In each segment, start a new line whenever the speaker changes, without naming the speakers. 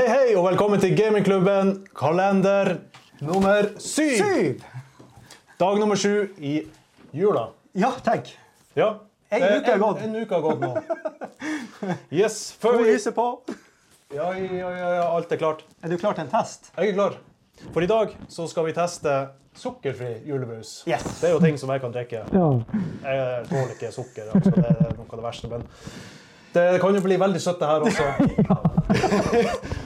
velkommen til gamingklubben kalender nummer syv.
Syv!
Dag nummer sju i jula.
Ja, tenk.
Ja.
En
Eh,
uke har gått.
En, en uke har gått nå. Yes. Før
Må
vi
lyse på.
ja, ja, ja, ja, alt er klart.
Er du klar til en test?
Jeg er klar. For i dag så skal vi teste sukkerfri julebrus.
Yes.
Det er jo ting som jeg kan drikke. Jeg tåler ikke sukker. Altså, det er noe av det verste. Men det kan jo bli veldig søtt, det her også.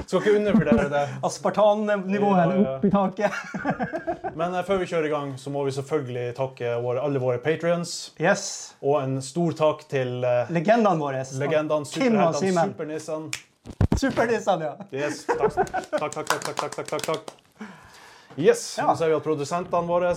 Skal ikke undervurdere det.
Aspartannivået
Ja, ja.
opp i taket.
Men eh, før vi kjører i gang, så må vi selvfølgelig takke våre, alle våre patrions.
Yes.
Og en stor takk til eh,
Legendene våre.
legendene,
Kim og
superheltene,
Simen.
supernissene.
Supernissene, ja.
Yes, takk, takk, takk, takk, takk, takk, takk, takk, takk. Yes,
Ja.
Nå ser vi at produsentene våre,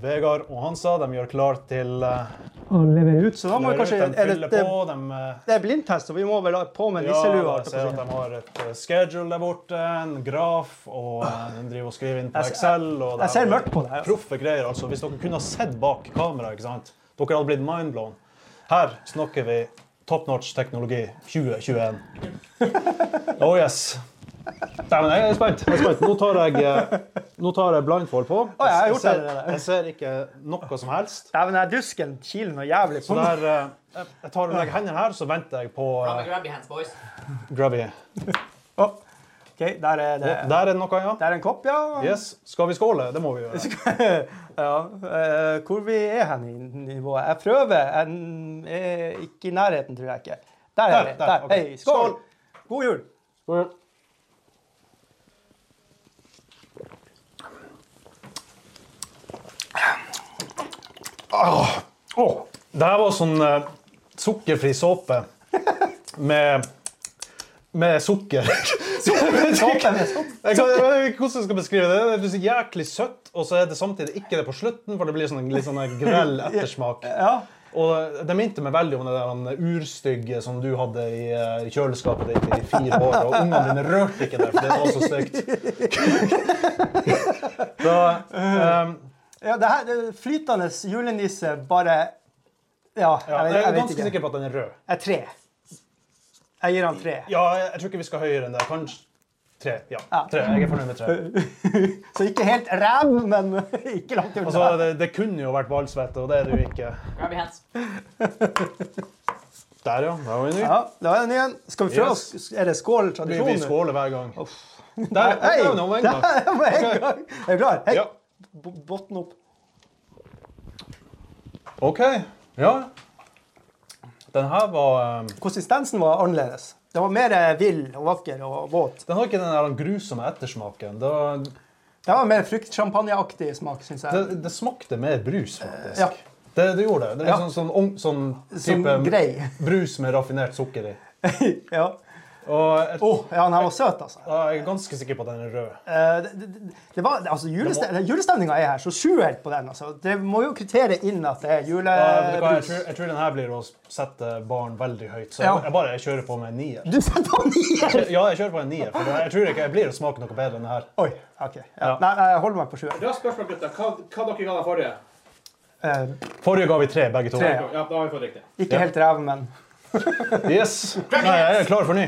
Vegard og Hansa, de gjør klar til eh,
Og leverer ut, så da
leverer
må vi
ut.
kanskje
De
er det,
fyller
det,
på. De, eh,
det er blindtest, så vi må vel ha på med
ja,
nisselua.
jeg
holdt
ser
jeg
at
på å
de har et eh, schedule der borte, en graf, og eh, de driver og skriver inn på
Jeg ser-
Excel. Og
jeg
de-
ser mørkt på det her.
Proffe greier, altså. Hvis dere kunne ha sett bak kamera, ikke sant? Dere hadde blitt mindblown. Her snakker vi top notch teknologi 2021. Oh yes. Nei, men jeg er spent. Jeg er spent. Nå tar jeg, eh, nå tar jeg blindfold på.
Å, jeg har gjort
ser,
det, det der.
jeg ser ikke noe som helst.
si. Dæven, den dusken kiler noe jævlig
Så
på meg.
der, eh, jeg tar og legger hendene her, så venter jeg på
Grab
eh,
your grabby hands, boys.
grubby.
Å, OK, der er det.
Der er det noe, ja.
Der er en kopp, ja.
Yes. Skal vi skåle? Det må vi gjøre.
ja. eh, hvor vi er hen i nivået? Jeg prøver. Jeg er ikke i nærheten, tror jeg ikke. Der er
Der,
vi.
der,
Der.
ok.
Hei,
Skål.
skål. God jul!
Åh, det her var sånn eh, sukkerfri såpe med, med sukker.
Såpe
sukker.
med såpe.
Jeg, kan, jeg vet ikke hvordan jeg skal beskrive det. Det er så jæklig søtt, og så er det samtidig ikke det på slutten, for det blir sånn, en litt sånn grell ettersmak.
Ja.
Og det minte meg veldig om det der han urstygge som du hadde i eh, kjøleskapet ditt i fire år, og ungene dine rørte ikke det, for det var så stygt. Så, ehm,
ja det her det er flytende julenisse bare Ja,
ja,
jeg, vet-
jeg
jeg
er ganske
vet ikke.
sikker på at den er rød.
Jeg er tre. Jeg gir han tre.
Ja, jeg, jeg tror ikke vi skal høyere enn det. Kanskje tre. Ja,
Ja.
tre. Jeg er fornøyd med tre.
Så ikke helt ræv, men ikke langt unna.
Altså, det, det kunne jo vært ballsvette, og det er det jo ikke.
Grab your hands.
Der, ja. Da var vi ny.
ja, da er det en igjen. Skal vi prøve?
Yes.
oss- Er det
Vi,
skåltradisjon?
vi
nå?
skåler hver gang. Der,
Hei!
der, nå, vent da.
Der var jeg i gang. Er du klar? Hei!
Ja.
B- Botten opp.
OK. Ja. Den her var ehm,
Konsistensen var annerledes. Den var mer eh, vill og vakker og våt.
Den har ikke den der grusomme ettersmaken. Det, var,
Den var mer fruktsjampanjeaktig smak, syns jeg.
det, det smakte mer brus, faktisk.
Ja.
Det, det gjorde det. Det er
Ja.
sånn, sånn, ung- sånn
Som
type
grei.
brus med raffinert sukker i.
ja.
Og jeg,
Åh, ja, den her var søt, altså.
jeg er ganske sikker på at den er rød.
Oh. Eh, det, det, det var, altså juleste, Julestemninga er her, så sjuer på den. altså. Det må jo kvittere inn at det er
Ja, vet du hva, jeg,
julebrus.
tror, jeg tror den her blir å sette barn veldig høyt, så
Ja.
jeg, jeg bare kjører på med en nier.
Du setter på nier!
Ja, jeg kjører på en nier, for det- jeg tror ikke jeg blir å smake noe bedre enn det her.
Oi, OK. Ja.
Ja.
Nei, nei, jeg holder meg på sjuer.
Ja, spørsmål, gutter. Hva, hva dere ga den forrige?
Eh,
Forrige ga vi tre, begge to.
Tre.
Ja, da har vi fått riktig.
ikke helt ræv, men
Yes. Nei, jeg er klar for ny.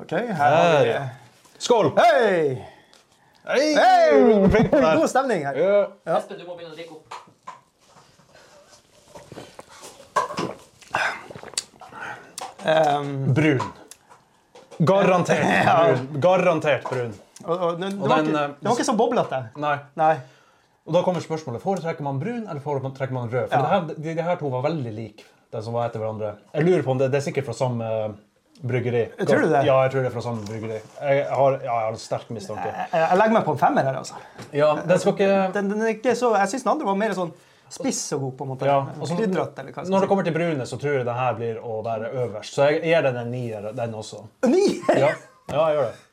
OK. Her har vi
Der. Skål!
Hei!
Hei!
Hei!
Flink der.
God stemning her.
Ja.
Espen, du må begynne å drikke opp.
Ehm,
Brun. Garantert brun. Garantert brun.
og, og, det, det, var
den,
ikke,
eh,
det var ikke så boblete.
Nei.
Nei.
Og da kommer spørsmålet foretrekker man brun eller foretrekker man rød. For
Ja.
det her, de, de her to var veldig like, de som var etter hverandre. Jeg lurer på om det, det er sikkert fra samme eh, bryggeri.
Tror du det?
Ja, jeg tror det er fra samme bryggeri. Jeg har, ja, jeg har sterk mistanke.
Jeg, jeg legger meg på en femmer her, altså.
Ja, den skal ikke...
Den, den er ikke så, jeg syns den andre var mer sånn spiss og god, på en måte.
Ja, og så-
Krydret, eller
Når
hva
det
skal jeg si.
kommer til brune, så tror jeg den her blir å være øverst. Så jeg gir den en nier, den også.
Nier!
Ja, ja jeg gjør det.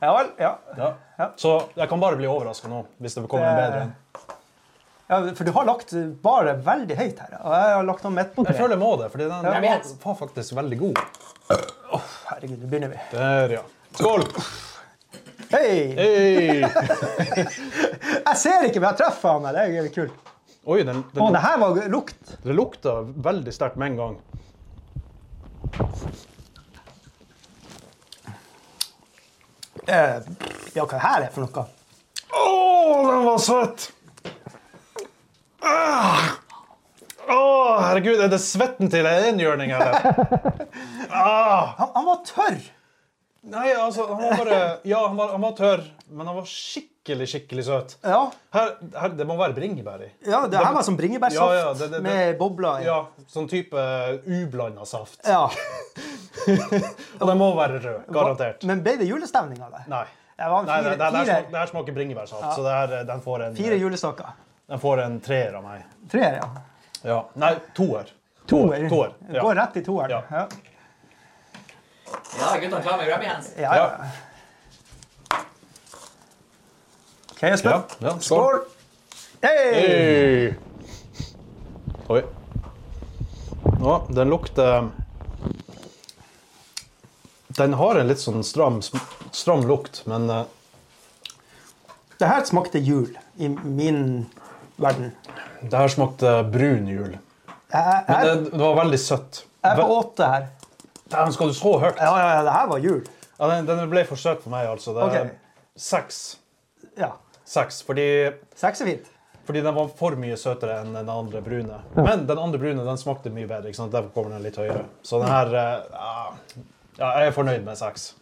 Ja vel. Ja.
Ja.
Ja.
Så jeg kan bare bli overraska nå, hvis det kommer en
Det-
bedre.
ja. For du har lagt bare veldig høyt her. Og jeg har lagt den midt på
Jeg
tre.
føler jeg må det, for den
Ja.
var, var faktisk veldig god.
Herregud, nå begynner vi.
Der, ja. Skål!
Hei!
Hey.
Jeg ser ikke, men jeg treffer han her. Det er jo kult.
Oi, den,
Å,
den,
det her var lukt.
det lukta veldig sterkt med en gang.
Eh, ja, hva her er for noe?
Å, den var søt! Ah! Å, herregud, er det svetten til en enhjørning, eller? Ah!
Han, han var tørr!
Nei, altså, han var bare Ja, han var, han var tørr, men han var skikkelig, skikkelig søt.
Ja,
Her, her, det må være bringebær i.
ja det her var som bringebærsaft
Ja, ja, det- det- det-
med bobler i.
Ja, sånn type ublanda saft.
Ja.
Og den må være rød. Garantert.
Men ble det julestemning av det?
Nei.
Det var
Nei,
fire,
det, det, her
fire,
smaker, det her smaker bringebærsaft, så det her, den får en,
fire julestaker.
den får en treer av meg.
Treer, ja.
Ja. Nei, toer.
Toer.
Toer, ja.
Går rett i toeren.
Ja.
Ja.
Ja, guttene klarer med Grammy Hands.
Ja, ja. OK, Espen.
Ja, ja, skål.
Skål! Hey!
Hey. Oi. Nå, den lukter Den har en litt sånn stram, sm- stram lukt, men eh,
Det her smakte jul i min verden.
det her smakte brun jul.
Jeg,
Men
jeg,
det, det var veldig søtt.
jeg er på
Ve-
åtte her.
Dæven, skal du så høyt?
Ja, ja, ja, det her var jul.
Ja, den, den ble for søt for meg, altså. Det er
Ok.
seks.
Ja.
Seks, fordi,
Seks er fint.
fordi den var for mye søtere enn den andre brune. Men den andre brune den smakte mye bedre, ikke sant? derfor kommer den litt høyere. Så den her eh, ja, ja, Jeg er fornøyd med seks.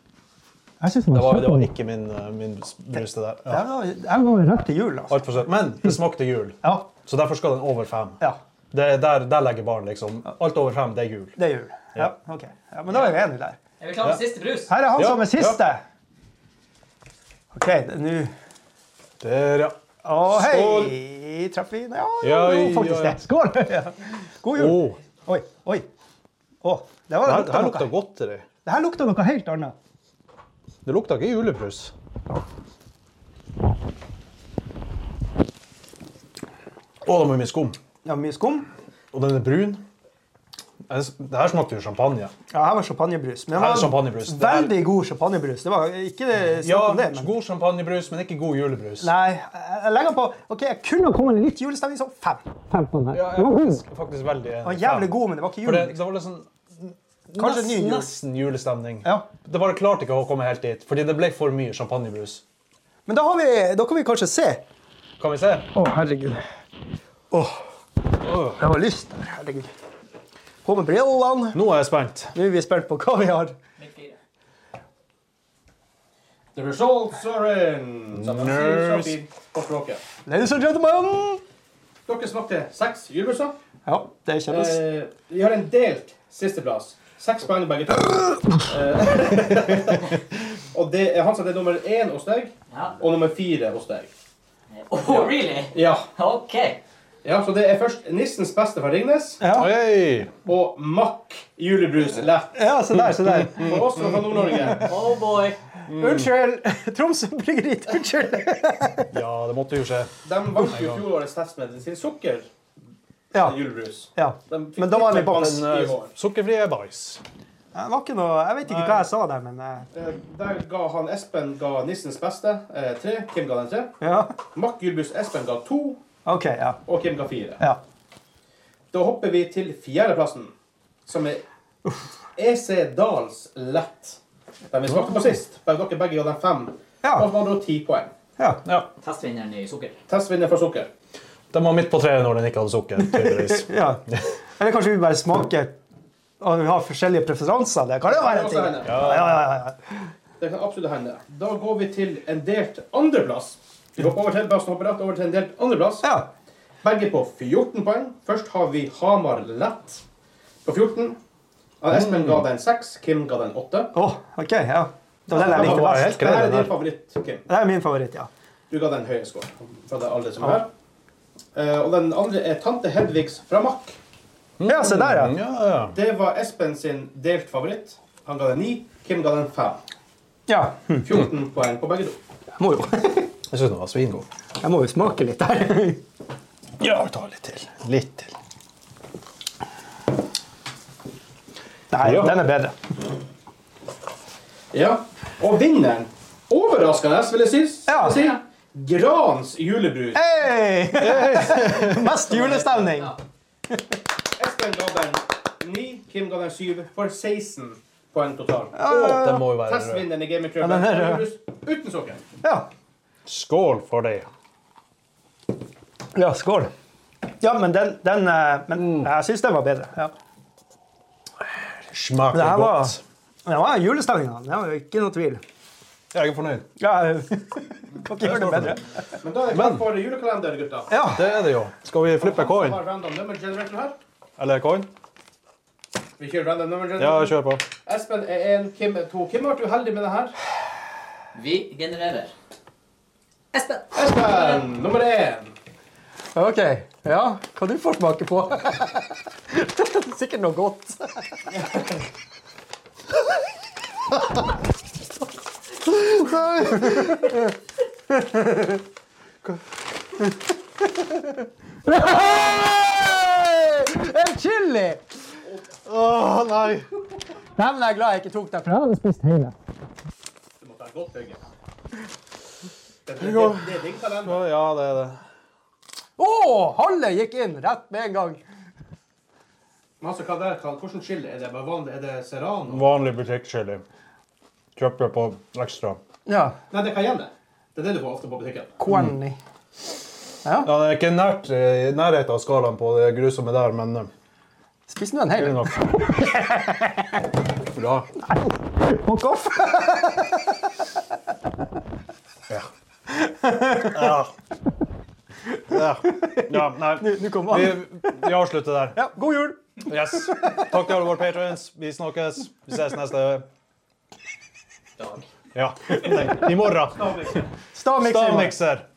Jeg syns den
Det var, det var ikke min, eh, min bruste der.
Det
Ja.
her var, det her var rett til jul, altså.
Altfor søt. Men det smakte jul,
Ja.
så derfor skal den over fem.
ja.
Det, der, der legger barn, liksom. Alt over fem, det er jul.
Det er jul. Ja, ok. Ja, men da er vi enige der.
Er vi klare for siste brus?
Her er han
Ja,
som er siste. OK, nå
Der, ja.
Å,
Skål.
hei! Traff vi Ja, ja,
Ja,
jo, faktisk
ja, ja.
det. Skål! Ja. God jul.
Å,
Oi, oi. Å, det
det her,
var,
det
lukta
her
noe.
lukta godt til deg.
Det her lukta noe helt annet.
Det lukta ikke julebrus. Å, det var mye skum.
Det var mye skum.
Og den er brun. Det her smakte jo champagne.
Ja, her var champagnebrus. Men det
Her er
var
champagnebrus. Det her-
Veldig god champagnebrus. Det var ikke det,
Ja,
snakk om det, men
god champagnebrus, men ikke god julebrus.
Nei, jeg jeg legger den på OK, jeg kunne ha kommet litt julestemning som fem. Fem på den her.
Ja, jeg er faktisk, faktisk veldig enig.
Den var jævlig god, men det var ikke
For
jul.
det, det var liksom
Kanskje
nesten,
ny jul.
nesten julestemning.
Ja.
Det bare klarte ikke å komme helt dit, fordi det ble for mye champagnebrus.
Men da, har vi, da kan vi kanskje se.
Kan vi se?
Å, herregud. Åh,
Åh.
jeg har lyst. der, Herregud. På med brillene.
Nå er jeg spent.
Nå er vi spent på hva vi har.
Mitt fire.
The results are in! Som de sier så
Nerds.
fint på språket.
Ladies and gentlemen.
Dere smakte seks julebrøser.
Ja, det kjennes.
Eh, vi har en delt sisteplass. Seks poeng begge to. Eh, og det er han som er nummer én hos deg,
Ja.
og nummer fire hos deg.
Oh, really?
Ja.
Ok.
ja, så det er først Nissens beste fra Ringnes
Ja.
Oi.
og Mack julebrus lett.
ja, se der, se der.
For oss som er fra Nord-Norge.
Oh boy.
Mm.
Unnskyld. Tromsø bryggeri, unnskyld.
Ja, det måtte jo skje.
De vant jo fjorårets testmedlin sin sukker
Ja,
julebrus.
ja.
De fikk
Men da var det
tippet
bare
pass
Men
i
eh,
år.
sukkerfri er bajs.
Det var ikke noe, Jeg vet ikke hva jeg sa der, men eh,
Eh, Der ga han Espen ga Nissens beste eh, tre. Kim ga den tre.
ja.
Mack julebrus Espen ga to,
OK, ja.
og Kim ga fire.
ja.
Da hopper vi til fjerdeplassen, som er EC Dals Lett. Den vi smakte på sist. Bare dere begge ga den fem.
Ja.
Og så var det da ti poeng.
ja.
Ja.
Testvinneren i sukker.
Testvinner for sukker.
Den var midt på treet når den ikke hadde sukker. tydeligvis.
ja. Eller kanskje vi bare smaker og vi har forskjellige preferanser. Det kan jo være en ting.
Det,
Ja, ja, ja, ja.
det kan absolutt hende. Da går vi til en delt andreplass. Vi hopper over til, plassen, hopper rett over til en delt andreplass.
ja.
Begge på 14 poeng. Først har vi Hamar Lett på 14. Ja, Espen ga den 6, Kim ga den 8.
Åh, OK. ja. Det var den jeg
Det
likte
var
best.
helt grei,
Dette er
den
din
der.
favoritt, Kim.
Det er min favoritt, ja.
Du ga den høye score. Fra det alle som er her. Eh, og den andre er tante Hedvigs fra Mack.
Ja, se der, ja.
Mm, Ja, ja.
Det var Espen sin delt favoritt. Han ga den 9, Kim ga den 5.
Ja. Hm.
14 poeng på begge to.
Jeg må jo,
Jeg syns den var svingod.
jeg må jo smake litt der.
Ja, vi tar litt til. Litt til.
Nei,
Ja.
den er bedre.
Ja. Og vinneren, overraskende, vil jeg si,
Ja.
si Grans julebrus.
Hei! Mest julestemning.
Ja.
Espen ga den 9, Kim ga den 7 for 16 poeng totalt.
ja,
Det må jo være rød.
Testvinneren i Gaming
Ja, den er
Club uten sokken.
ja.
Skål for det.
ja, skål. Ja, men den, den eh, Men jeg syns den var bedre. Ja.
Smaker
Det her var-
godt.
Det var julestemninga. Det var jo ikke noe tvil.
Jeg er fornøyd.
Ja, jeg kan ikke gjøre det bedre.
Men da er det klart for julekalender, gutta.
Ja.
Det er det jo. Skal vi flippe coin?
Har random number generator her.
Eller coin?
Vi kjører random number
Ja,
generator.
kjør på.
Espen er én, Kim er to. Kim har vært uheldig med det her.
Vi genererer. Espen!
Espen, nummer én.
OK. Ja, hva du får smake på? Sikkert noe godt. Hei! En chili!
Å nei!
Nei, men jeg er glad jeg ikke tok den, for jeg hadde spist hele.
Du må ta en godt bygge. Det, det, det, det er din kalender.
Ja, det er det.
Å, halve gikk inn rett med en gang.
Men altså, hva det er, hva, hvordan chili er det? Bare vanlig? Er det serrano?
Vanlig butikkchili. Kjøper på ekstra.
Ja.
Nei, det er cayenne. Det er det du får ofte på butikken.
Corny.
Ja, det er ikke nært, i nærheten av skalaen på det grusomme der, men eh,
Spis nå en hel.
ille nok. Bra.
Fuck off.
Ja. Ja. Ja. ja nei.
Nå kommer
Vi,
han.
vi avslutter der.
Ja, god jul.
Yes. Takk til alle våre patrients. Vi snakkes. Vi ses neste
Dag.
Ja. I morgen.
Da har vi-
Stavmikser.
Stavmikser.